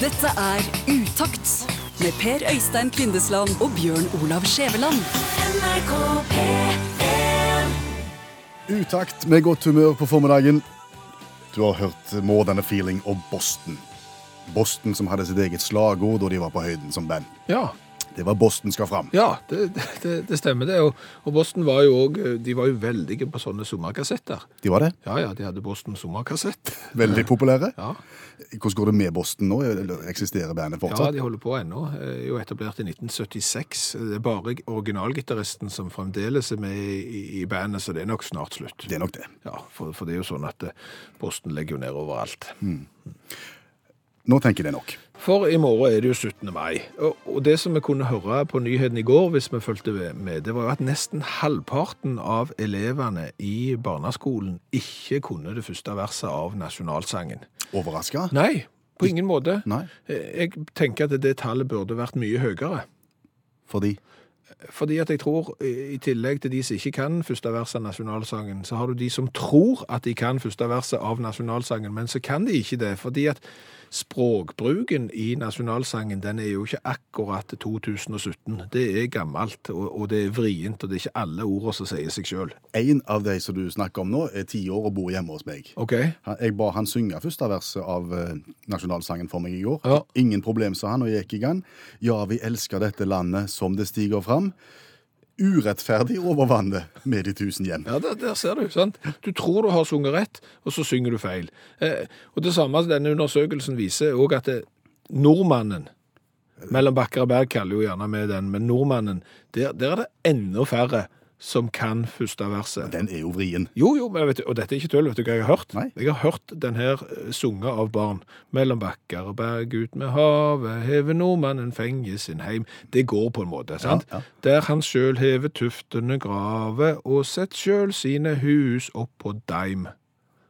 Dette er Utakt med Per Øystein Kvindesland og Bjørn Olav Skjæveland. Utakt med godt humør på formiddagen. Du har hørt More Than A Feeling og Boston. Boston som hadde sitt eget slagord da de var på høyden som band. Ja, Det var Boston skal fram. ja det, det- det, det stemmer det. Og, og Boston var jo òg De var jo veldige på sånne sommerkassetter. De var det. Ja ja, de hadde Boston sommerkassett. Veldig populære. Ja, Hvordan går det med Boston nå? Eksisterer bandet ja fortsatt? de holder på ennå. Eh, Jo etablert i 1976. Det er bare originalgitaristen som fremdeles er med i, i bandet, så det er nok snart slutt. Det er nok det. Ja, for, for det er jo sånn at eh, Boston legger jo ned overalt. Nå tenker jeg det er nok. For i morgen er det jo 17. mai, og og det som vi kunne høre på nyheten i går, hvis vi fulgte ved- med, det var jo at nesten halvparten av elevene i barneskolen ikke kunne det første verset av nasjonalsangen. Overraska? Nei, på ingen måte. Nei. Jeg tenker at det tallet burde vært mye høyere. Fordi Fordi at jeg tror, i i tillegg til de som ikke kan første verset av nasjonalsangen, så har du de som tror at de kan første verset av nasjonalsangen, men så kan de ikke det, fordi at språkbruken i nasjonalsangen, den er jo ikke akkurat 2017. Det er gammelt, og, og det er vrient, og det er ikke alle ordene som sier seg selv. en av de som du snakker om nå, er ti år og bor hjemme hos meg. Ok? Han- Jeg ba han synge første verset av eh, nasjonalsangen for meg i går. Ja. Ingen problem, sa han, og jeg gikk i gang. Ja, vi elsker dette landet som det stiger fram. Urettferdig over vannet med de tusen hjem. Ja, der, der ser du, sant? Du tror du har sunget rett, og så synger du feil. Eh, og det samme denne undersøkelsen viser også at det, nordmannen, mellom Bakker og Berg kaller jo gjerne med den, men nordmannen, der, der er det enda færre som kan første verset. Den er jo vrien. Jo, jo, men vet du, og dette er ikke tull, vet du hva jeg har hørt? Nei. Jeg har hørt den her eh, sunget av barn. Mellom bakker og berg ut med havet, hever nordmannen fenge sin heim. Det går på en måte, sant? ja. Der han sjøl hever tuftene grave, og sett sjøl sine hus opp på daim.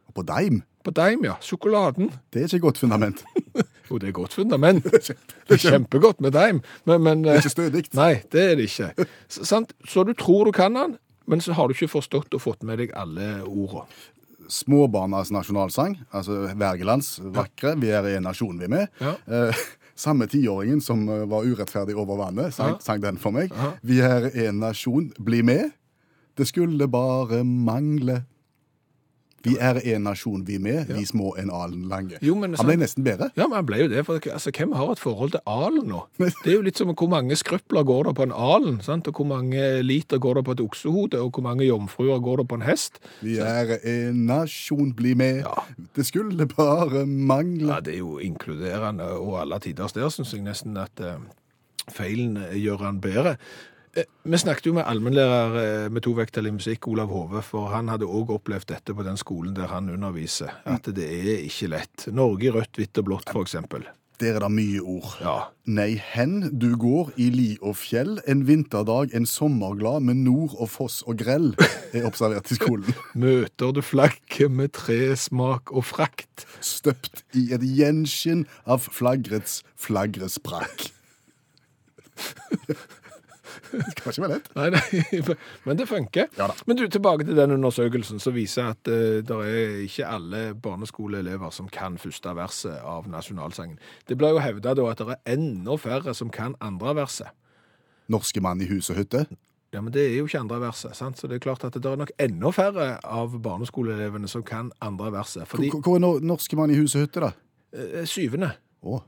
Og på deim, På daim, ja. Sjokoladen. det er ikke godt fundament. Jo, det er godt fundament. Det er kjempegodt med daim, men, men Det eh, er ikke stødig. Nei, det er det ikke. S- Sant? Så du tror du kan den, men så har du ikke forstått og fått med deg alle ordene. Småbarnas nasjonalsang, altså Wergelands vakre, vi er en nasjon vi er med. Ja. Eh, samme tiåringen som eh, var urettferdig over vannet, sang, Ja. sang den for meg. Ja. Vi er en nasjon, bli med. Det skulle bare mangle. Vi er en nasjon vi er med, vi små en alen lange. Jo, men det er Han ble sant. nesten bedre. Ja, men han ble jo det, for altså, hvem har et forhold til alen nå? Det er jo litt som hvor mange skrøpler går det på en alen, sant? og hvor mange liter går det på et oksehode, og hvor mange jomfruer går det på en hest? Vi er en nasjon, bli med. Ja. Det skulle bare mangle. Ja, det er jo inkluderende, og alle tiders der synes jeg nesten at eh, feilen gjør han bedre. Eh, Vi snakket jo med allmennlærer eh, med to vekttall i musikk, Olav Hove, for han hadde også opplevd dette på den skolen der han underviser, at det er ikke lett. Norge i rødt, hvitt og blått, for eksempel. Der er det mye ord. Ja, Nei, hen du går i li og fjell, en vinterdag, en sommerglad med nord og foss og grell, er observert i skolen. Møter du flagget med tresmak og frakt? Støpt i et gjenskinn av flaggrets flaggesprakk. Det skal ikke være lett. Nei, nei, men det funker. Ja da. Men du, tilbake til den undersøkelsen som viser at uh, det er ikke alle barneskoleelever som kan første verset av nasjonalsangen. Det ble jo hevda da at det er enda færre som kan andre verset. Norske mann i hus og hytte. Ja, men det er jo ikke andre verset, sant? så det er klart at det er nok enda færre av barneskoleelevene som kan andre verset. Hvor- Fordi Hvor hvor er no- norske mann i hus og hytte, da? eh, syvende. Å,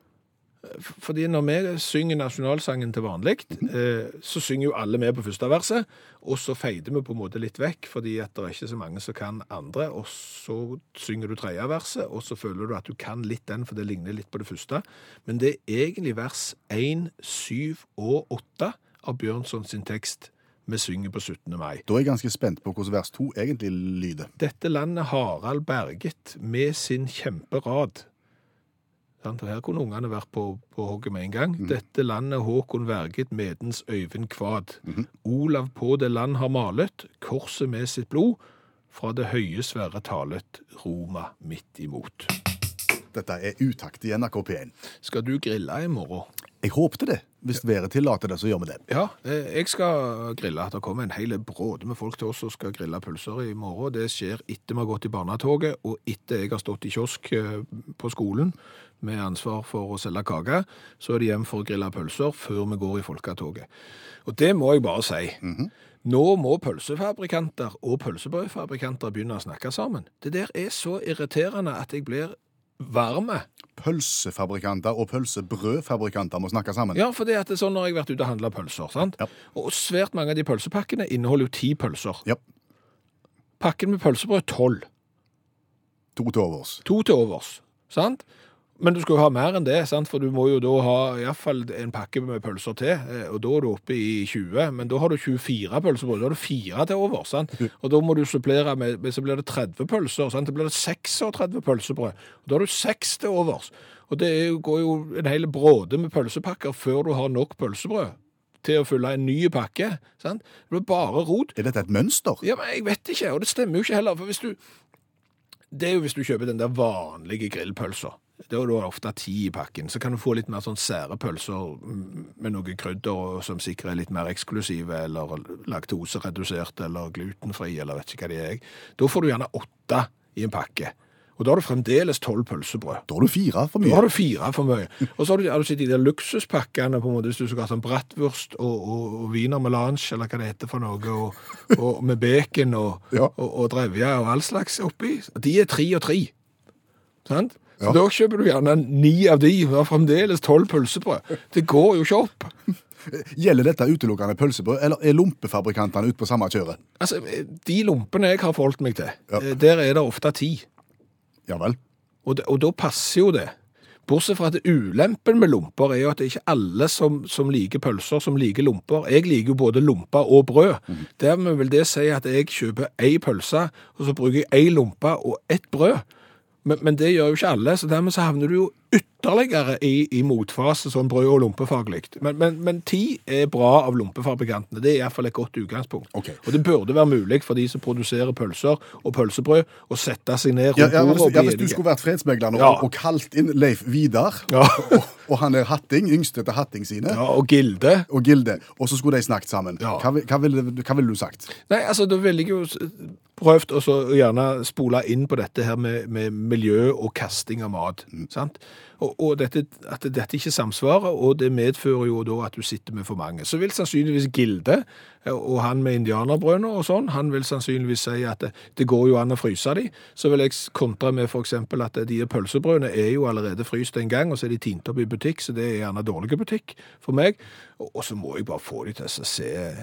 Fordi når vi synger nasjonalsangen til vanlig, eh, så synger jo alle med på første verset, og så feider vi på en måte litt vekk, fordi at det er ikke så mange som kan andre, og så synger du tredje verset, og så føler du at du kan litt den, for det ligner litt på det første. Men det er egentlig vers 1, 7 og 8 av Bjørnson sin tekst vi synger på 17. mai. da er jeg ganske spent på hvordan vers to egentlig lyder. Dette landet Harald berget med sin kjemperad. Sant? Og Her kunne ungene vært på, på hogget med en gang. Dette landet Håkon verget medens Øyvind Kvad. Olav på det land har malet, korset med sitt blod, fra det høye svære talet, Roma midt imot. Dette er utakt i NRK P1. Skal du grille i morgen? Jeg håpte det. Hvis været tillater det, så gjør vi det. Ja, eh, jeg skal grille. Det kommer en hel bråde med folk til oss som skal grille pølser i morgen. Det skjer etter vi har gått i barnetoget, og etter jeg har stått i kiosk eh, på skolen med ansvar for å selge kake, så er det hjem for å grille pølser før vi går i folketoget. Og det må jeg bare si. Nå må pølsefabrikanter og pølsebrødfabrikanter begynne å snakke sammen. Det der er så irriterende at jeg blir varme. Pølsefabrikanter og pølsebrødfabrikanter må snakke sammen. Ja, for det at det er sånn når jeg har vært ute og handla pølser. sant? Ja. Og svært mange av de pølsepakkene inneholder jo ti pølser. Ja. Pakken med pølsebrød tolv. To til overs. To til overs. sant? Men du skal jo ha mer enn det, sant? for du må jo da ha iallfall en pakke med pølser til. eh, Og da er du oppe i 20, men da har du 24 pølsebrød. Da har du fire til overs. sant? Og da må du supplere med med- Så blir det 30 pølser. sant? Da blir det 36 pølsebrød. Og da har du seks til overs. Og det er jo, går jo en hel bråde med pølsepakker før du har nok pølsebrød til å fylle en ny pakke. sant? Det blir bare rot. Er dette et mønster? Ja, men jeg vet ikke, og det stemmer jo ikke heller. For hvis du Det er jo hvis du kjøper den der vanlige grillpølsa. Da er det ofte ti i pakken. Så kan du få litt mer sånn sære pølser mm, med noe krydder og- som sikkert er litt mer eksklusive, eller laktoseredusert, eller glutenfri, eller vet ikke hva de er. jeg. Da får du gjerne åtte i en pakke. Og da har du fremdeles tolv pølsebrød. Da har du fire for mye. Da har du fire for mye. Og så har du, har du sett de der luksuspakkene, på en måte, hvis du skal ha sånn bratwurst og, og, og wiener melange, eller hva det heter for noe, og, og med bacon og, Ja. og, og drevje og all slags oppi. De er tre og tre. Sant? Så Ja. Da kjøper du gjerne ni av de, og har fremdeles tolv pølsebrød. Det går jo ikke opp. Gjelder dette utelukkende pølsebrød, eller er lompefabrikantene ute på samme kjøret? Altså, De lompene jeg har forholdt meg til, Ja. eh, der er det ofte ti. Ja vel. Og, da- og da passer jo det. Bortsett fra at ulempen med lomper er jo at det er ikke alle som, som liker pølser, som liker lomper. Jeg liker jo både lomper og brød. Mhm. Dermed vil det si at jeg kjøper ei pølse, og så bruker jeg ei lompe og ett brød. Men, men det gjør jo ikke alle, så dermed så havner du jo ytterligere i, i motfase sånn brød- og lompefaglig. Men, men, men ti er bra av lompefabrikantene. Det er iallfall et godt utgangspunkt. Ok. Og det burde være mulig for de som produserer pølser og pølsebrød, å sette seg ned rundt Ja, ja, hvis, bordet og ja, bli hvis du enige. skulle vært fredsmegler nå Ja. og kalt inn Leif Vidar, Ja. og, og han er Hatting, yngste til Hatting sine, Ja, og Gilde. og Gilde, og så skulle de snakket sammen, Ja. hva, vil- hva, ville, hva ville du sagt? Nei, altså, da ville jeg jo s- prøvd å så gjerne spole inn på dette her med, med miljø og kasting av mat. sant? Og, og dette, at dette ikke samsvarer, og det medfører jo da at du sitter med for mange. Så vil sannsynligvis Gilde, eh, og han med indianerbrødene og sånn, han vil sannsynligvis si at det, det går jo an å fryse de. Så vil jeg s- kontra med for eksempel at eh, de pølsebrødene er jo allerede fryst en gang, og så er de tint opp i butikk, så det er gjerne dårlig butikk for meg. Og, og så må jeg bare få de til å se,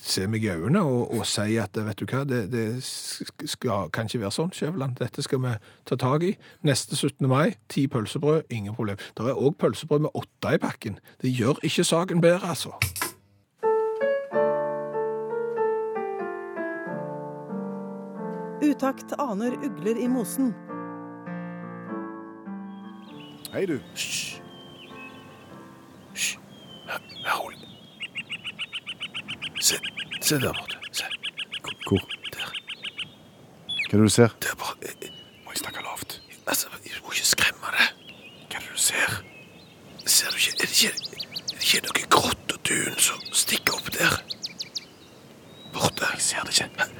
se meg i øynene og, og si at vet du hva, det, det sk- skal, kan ikke være sånn, Skjæveland. Dette skal vi ta tak i. Neste 17. mai, ti pølsebrød, ingen problem. Det er òg pølsebrød med åtte i pakken. Det gjør ikke saken bedre, altså. Utakt aner ugler i mosen. Hei du. Vær rolig. Se, se der borte. Se. Hvor? Der. Hva er det du ser? Der borte. Må jeg snakke lavt? Altså, jeg må ikke skremme deg. Hva er det du ser? Ser du ikke Er det ikke, er det ikke noe grått og dun som stikker opp der? Borte. Jeg ser det ikke.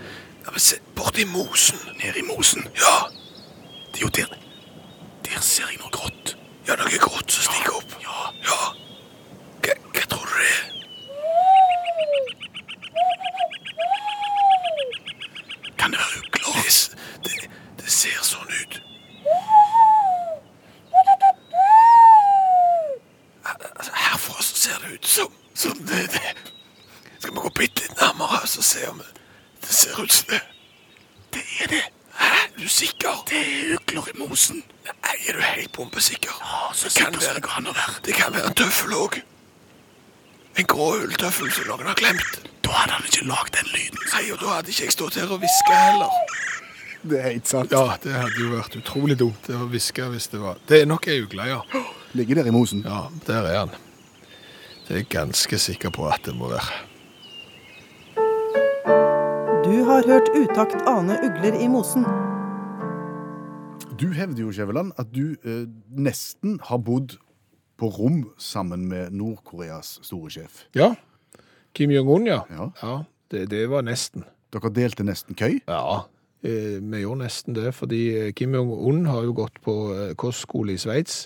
Ja, men se, borte i mosen. Nede i mosen? Ja. Det er jo der Der ser jeg noe grått. Ja, noe grått som stikker opp? Ja. ja. Hva, hva tror du det er? Kan det være ugler? Det, s- det, det ser sånn ut. Al- altså, Herfra så ser det ut som, som det, det. Skal vi gå bitte litt nærmere og se om det, det ser ut som det? Det er det. Hæ? Er du sikker? Det er ugler i mosen. Nei, er du helt bombesikker? Ja, så det kan være, Det kan være en tøffel òg. En grå ulltøffel som noen har glemt. Da hadde han ikke lagd den lyden. Nei, og da hadde ikke jeg stått her og hviska heller. Det er helt sant. Ja, det hadde jo vært utrolig dumt å hviske hvis det var Det er nok ei ugle, ja. Ligger der i mosen. Ja, der er han. Det er jeg ganske sikker på at det må være. Du har hørt Utakt ane ugler i mosen. Du hevder jo, Skjæveland, at du eh, nesten har bodd på rom sammen med Nord-Koreas store sjef. Ja. Kim Jong-un, ja. Ja. det, det var nesten. Dere delte nesten køy. Ja. Eh, vi gjorde nesten det, fordi eh, Kim Jong-un har jo gått på eh, kostskole i Sveits.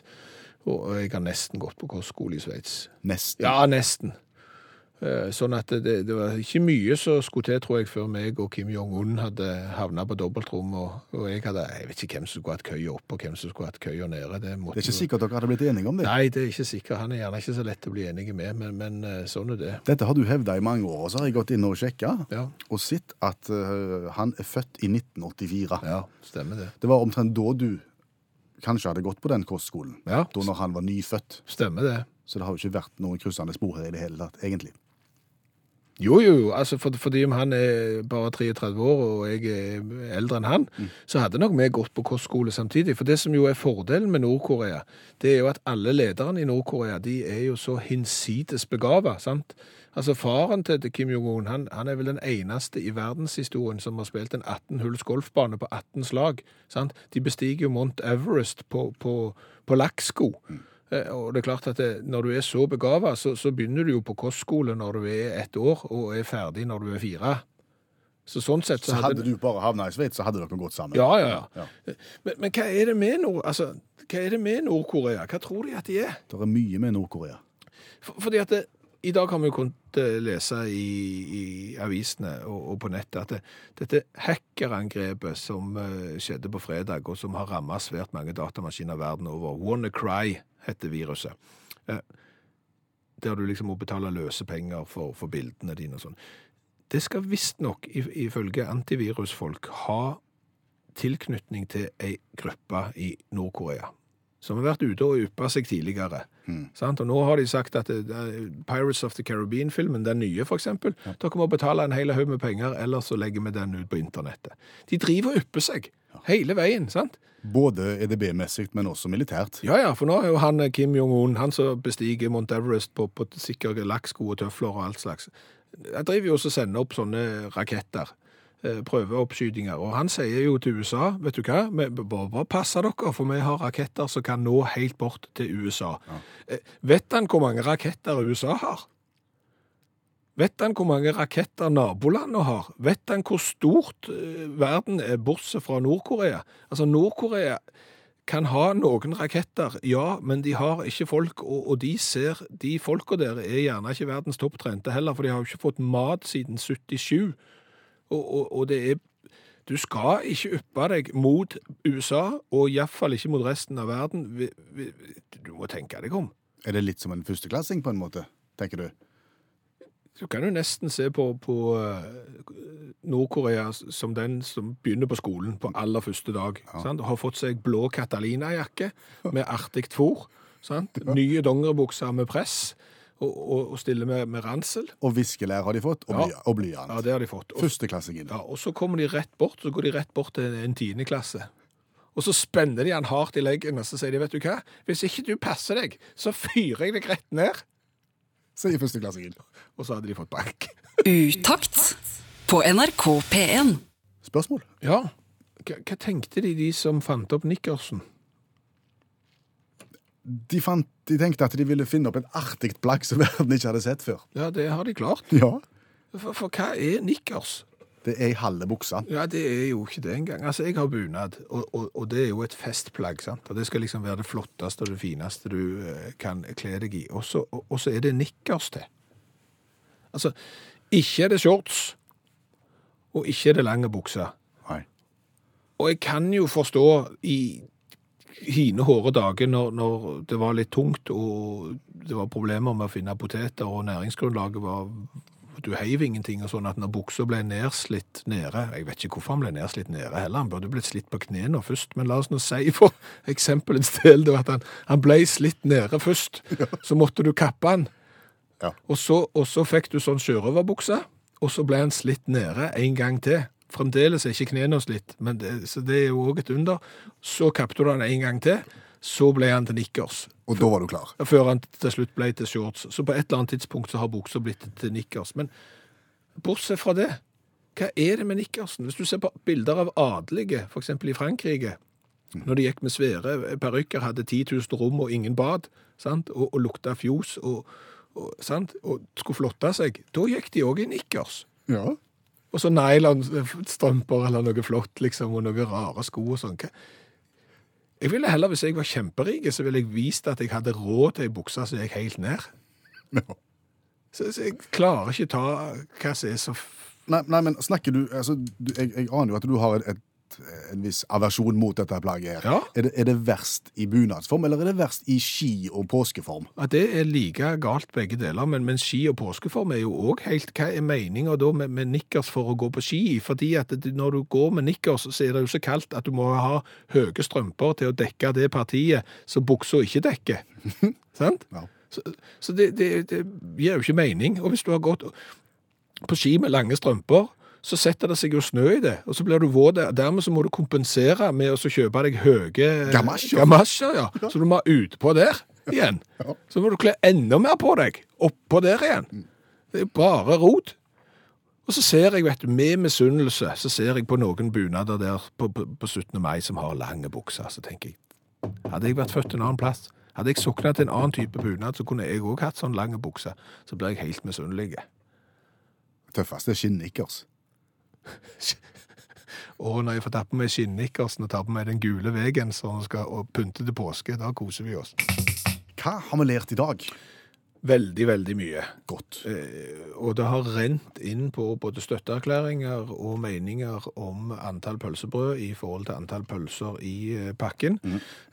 Og jeg har nesten gått på kostskole i Sveits. Nesten. Ja, nesten. Eh, Sånn at det, det var ikke mye som skulle til, tror jeg, før meg og Kim Jong-un hadde havna på dobbeltrom, og, og jeg hadde Jeg vet ikke hvem som skulle hatt køya oppe, og hvem som skulle hatt køya nede. Det, måtte Det er jo- ikke sikkert dere hadde blitt enige om det. Nei, det er ikke sikkert. Han er gjerne ikke så lett å bli enig med, men, men eh, sånn er det. Dette har du hevda i mange år, og så har jeg gått inn og sjekka, Ja. og sett at eh, han er født i 1984. Ja, stemmer det. Det var omtrent da du kanskje hadde gått på den kostskolen. Ja. Da når han var nyfødt. Stemmer det. Så det har jo ikke vært noen kryssende spor her i det hele tatt, egentlig. Jo, jo, jo. altså for, fordi om han er bare 33 år, og jeg er eldre enn han, så hadde nok vi gått på kostskole samtidig. For det som jo er fordelen med Nord-Korea, det er jo at alle lederne i Nord-Korea, de er jo så hinsides begavet, sant? Altså faren til til Kim Jong-un, han, han er vel den eneste i verdenshistorien som har spilt en 18-hulls golfbane på 18 slag, sant? De bestiger jo Mount Everest på, på, på lakksko. Eh, Og det er klart at det, når du er så begavet, så, så begynner du jo på kostskole når du er ett år, og er ferdig når du er fire. Så sånn sett så, Så hadde du bare havna i Sveits, så hadde dere gått sammen. Ja, ja, ja. Men, men hva er det med Nord... Altså, hva er det med Nord-Korea? Hva tror de at de er? Det er mye med Nord-Korea. For, fordi at det, i dag har vi jo kunnet eh, lese i, i avisene og, og på nettet at det, dette hackerangrepet som eh, skjedde på fredag, og som har rammet svært mange datamaskiner verden over, WannaCry heter viruset, eh, der du liksom må betale løsepenger for, for bildene dine og sånn. Det skal visstnok, if- ifølge antivirusfolk, ha tilknytning til ei gruppe i Nord-Korea, som har vært ute og yppa seg tidligere. Sant? Og nå har de sagt at eh, Pirates of the Caribbean-filmen, den nye for eksempel, dere må betale en hel haug med penger, ellers så legger vi den ut på internettet. De driver og ypper seg hele veien, sant? Både EDB-messig, men også militært. Ja, ja, for nå er jo han eh, Kim Jong-un, han som bestiger Mount Everest på, på sikker lakksko og tøfler og alt slags. Han driver jo også og sender opp sånne raketter, eh, prøveoppskytinger, og han sier jo til USA, vet du hva, vi bare, bare passer dere, for vi har raketter som kan nå helt bort til USA. Eh, Vet han hvor mange raketter USA har? Vet han hvor mange raketter nabolandet har? Vet han hvor stort eh, verden er, bortsett fra Nord-Korea? Altså, Nord-Korea kan ha noen raketter, ja, men de har ikke folk, og, og de ser De folka der er gjerne ikke verdens topptrente heller, for de har jo ikke fått mat siden 77. Og, og, og det er Du skal ikke yppe deg mot USA, og iallfall ikke mot resten av verden. Vi- vi- Du må tenke deg om. Er det litt som en førsteklassing, på en måte? Tenker du? Du kan jo nesten se på, på eh, Nord-Korea som den som begynner på skolen på aller første dag. Sant? Har fått seg blå Catalina-jakke med artig fôr. Sant? Nye dongeribukser med press, og, og, og stiller med, med ransel. Og viskelær har de fått, og, Ja. bly, og blyant. Ja, det har de fått. Og, Førsteklassingen. ja, og så kommer de rett bort, så går de rett bort til en tiendeklasse. Og så spenner de han hardt i leggen, og så sier de, vet du hva, hvis ikke du passer deg, så fyrer jeg deg rett ned. Sier førsteklassingen. Og så hadde de fått bank. Utakt på NRK P1. Spørsmål? Ja, hva, hva tenkte de, de som fant opp Nikkersen? De, fant, de tenkte at de ville finne opp et artig plagg som verden ikke hadde sett før. Ja, det har de klart. Ja. For, for hva er Nikkers? Det er ei halve bukse. Ja, det er jo ikke det engang. Altså, jeg har bunad, og, og, og det er jo et festplagg, sant? Og det skal liksom være det flotteste og det fineste du eh, kan kle deg i. Og så og- og så er det Nikkers til. Altså, ikke er det shorts, og ikke er det lange bukser. Nei. Og jeg kan jo forstå i hine hårde dager når, når det var litt tungt og det var problemer med å finne poteter og næringsgrunnlaget var du heiv ingenting og sånn at når buksa ble nedslitt nede, jeg vet ikke hvorfor han ble nedslitt nede heller, han burde blitt slitt på knene først, men la oss nå si for eksempelens del da at han, han ble slitt nede først, så måtte du kappe han, Ja. og så, og så fikk du sånn sjørøverbukse, og så ble han slitt nede en gang til. Fremdeles er ikke knene slitt, men det, så det er jo òg et under. Så kappte du han en gang til, så ble han til nikkers. Og da var du klar. Før han til slutt ble til shorts. Så på et eller annet tidspunkt så har buksa blitt til nikkers. Men bortsett fra det, hva er det med nikkersen? Hvis du ser på bilder av adelige, f.eks. i Frankrike, Når de gikk med svære parykker, hadde 10 000 rom og ingen bad, sant? Og, og lukta fjos og, og, sant? og skulle flotte seg, da gikk de òg i nikkers. Ja. Og så nylonstrømper eller noe flott, liksom, og noen rare sko og sånn. Hva- Jeg ville heller, hvis jeg var kjemperik, så ville jeg vist at jeg hadde råd til ei bukse som gikk helt ned. ja. Så, så jeg klarer ikke ta hva som er så f- Nei, nei, men snakker du, altså, du jeg, jeg aner jo at du har et, et, en viss aversjon mot dette plagget. her. Ja. Er, det, er det verst i bunadsform, eller er det verst i ski- og påskeform? At det er like galt begge deler, men, men ski og påskeform er jo òg helt Hva er meninga da med, med nikkers for å gå på ski? Fordi at det, når du går med nikkers, så er det jo så kaldt at du må ha høye strømper til å dekke det partiet som buksa ikke dekker. Sant? Ja. Så, så det, det, det gir jo ikke mening. Og hvis du har gått på ski med lange strømper, så setter det seg jo snø i det, og så blir du våt. Dermed så må du kompensere med å så kjøpe deg høye Gamasjer. gamasjer ja. Så du må utpå der igjen. Så må du kle enda mer på deg oppå der Mm. igjen. Det er bare rot. Og så ser jeg, vet du, med misunnelse, så ser jeg på noen bunader der på, på, på 17. mai som har lange bukser, så tenker jeg, hadde jeg vært født en annen plass, hadde jeg soknet til en annen type bunad, så kunne jeg også hatt sånn lange bukser, så blir jeg helt misunnelig. Tøffeste er skinnnikkers. Og når jeg får tatt på meg skinnnikkersen og tar på meg den gule vegen som skal og pynte til påske, da koser vi oss. Hva har vi lært i dag? Veldig, veldig mye. Godt. Eh, Og det har rent inn på både støtteerklæringer og meninger om antall pølsebrød i forhold til antall pølser i eh, pakken.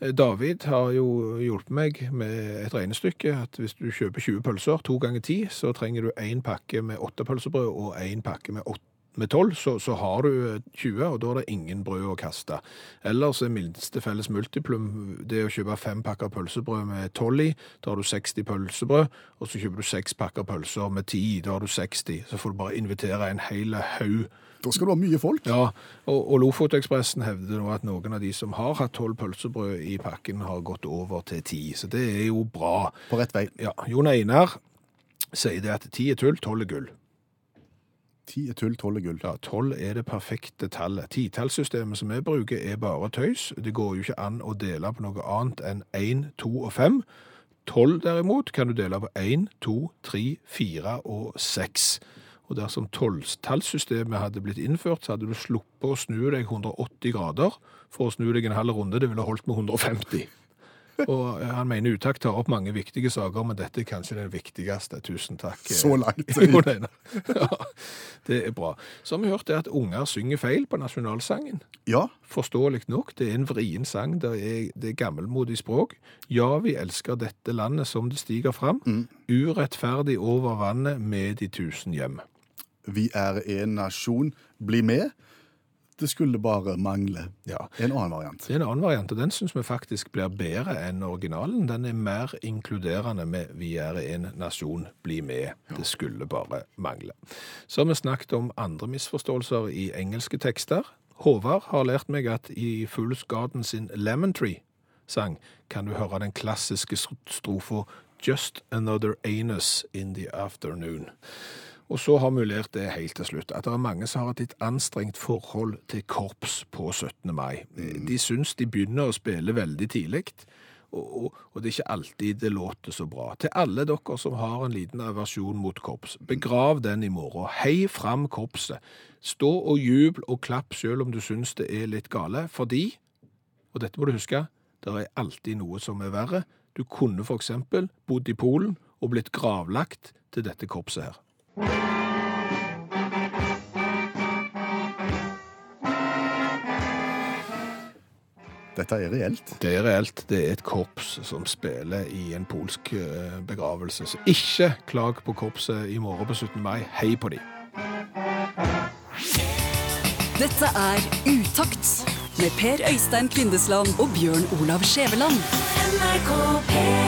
Eh, David har jo hjulpet meg med et regnestykke at hvis du kjøper 20 pølser, to ganger 10, så trenger du én pakke med åtte pølsebrød og én pakke med åtte med 12, så, så har du eh, 20, og da er det ingen brød å kaste. Ellers er minste felles multiplum det å kjøpe fem pakker pølsebrød med 12 i, da har du 60 pølsebrød, og så kjøper du seks pakker pølser med 10 i, da har du 60. Så får du bare invitere en hel haug. Da skal du ha mye folk. Ja, og, og Lofotekspressen hevder nå at noen av de som har hatt 12 pølsebrød i pakken, har gått over til 10, så det er jo bra. På rett vei. Ja, Jon Einar sier det at 10 er tull, 12 er gull. Ti er tull, tolv er gull. Ja, 12 er det perfekte tallet. Titallssystemet som vi bruker er bare tøys. Det går jo ikke an å dele på noe annet enn 1, 2 og 5. 12 derimot kan du dele på 1, 2, 3, 4 og 6. Og dersom 12-tallssystemet hadde blitt innført, så hadde du sluppet å snu deg 180 grader for å snu deg en halv runde. Det ville holdt med 150. Og han mener utakt tar opp mange viktige saker, men dette er kanskje den viktigste. Tusen takk. eh, Så langt. jo, nei, nei. Ja, det er bra. Så har vi hørt det at unger synger feil på nasjonalsangen. Ja, Forståelig nok, det er en vrien sang, det er, det er gammelmodig språk. Ja, vi elsker dette landet som det stiger fram. Mm. Urettferdig over vannet med de tusen hjem. vi er en nasjon. Bli med. Det skulle bare mangle. Ja. En annen variant. Det er en annen variant, og den syns vi faktisk blir bedre enn originalen. Den er mer inkluderende med 'Vi er en nasjon, bli med'. Det skulle bare mangle. Så har vi snakket om andre misforståelser i engelske tekster. Håvard har lært meg at i Fools Garden sin Lemon Tree-sang kan du høre den klassiske strofa 'Just another anus in the afternoon'. Og så har vi lært det helt til slutt, at det er mange som har et litt anstrengt forhold til korps på 17. mai. De syns de begynner å spille veldig tidlig, og, og, og det er ikke alltid det låter så bra. Til alle dere som har en liten aversjon mot korps, begrav den i morgen. Hei fram korpset. Stå og jubel og klapp selv om du syns det er litt gale, fordi og dette må du huske, det er alltid noe som er verre. Du kunne for eksempel bodd i Polen og blitt gravlagt til dette korpset her. Dette er reelt. Det er reelt. Det er et korps som spiller i en polsk eh, begravelse. Så ikke klag på korpset i morgen på 17. mai. Hei på de. Dette er Utakt med Per Øystein Kvindesland og Bjørn Olav Skjæveland. NRK P3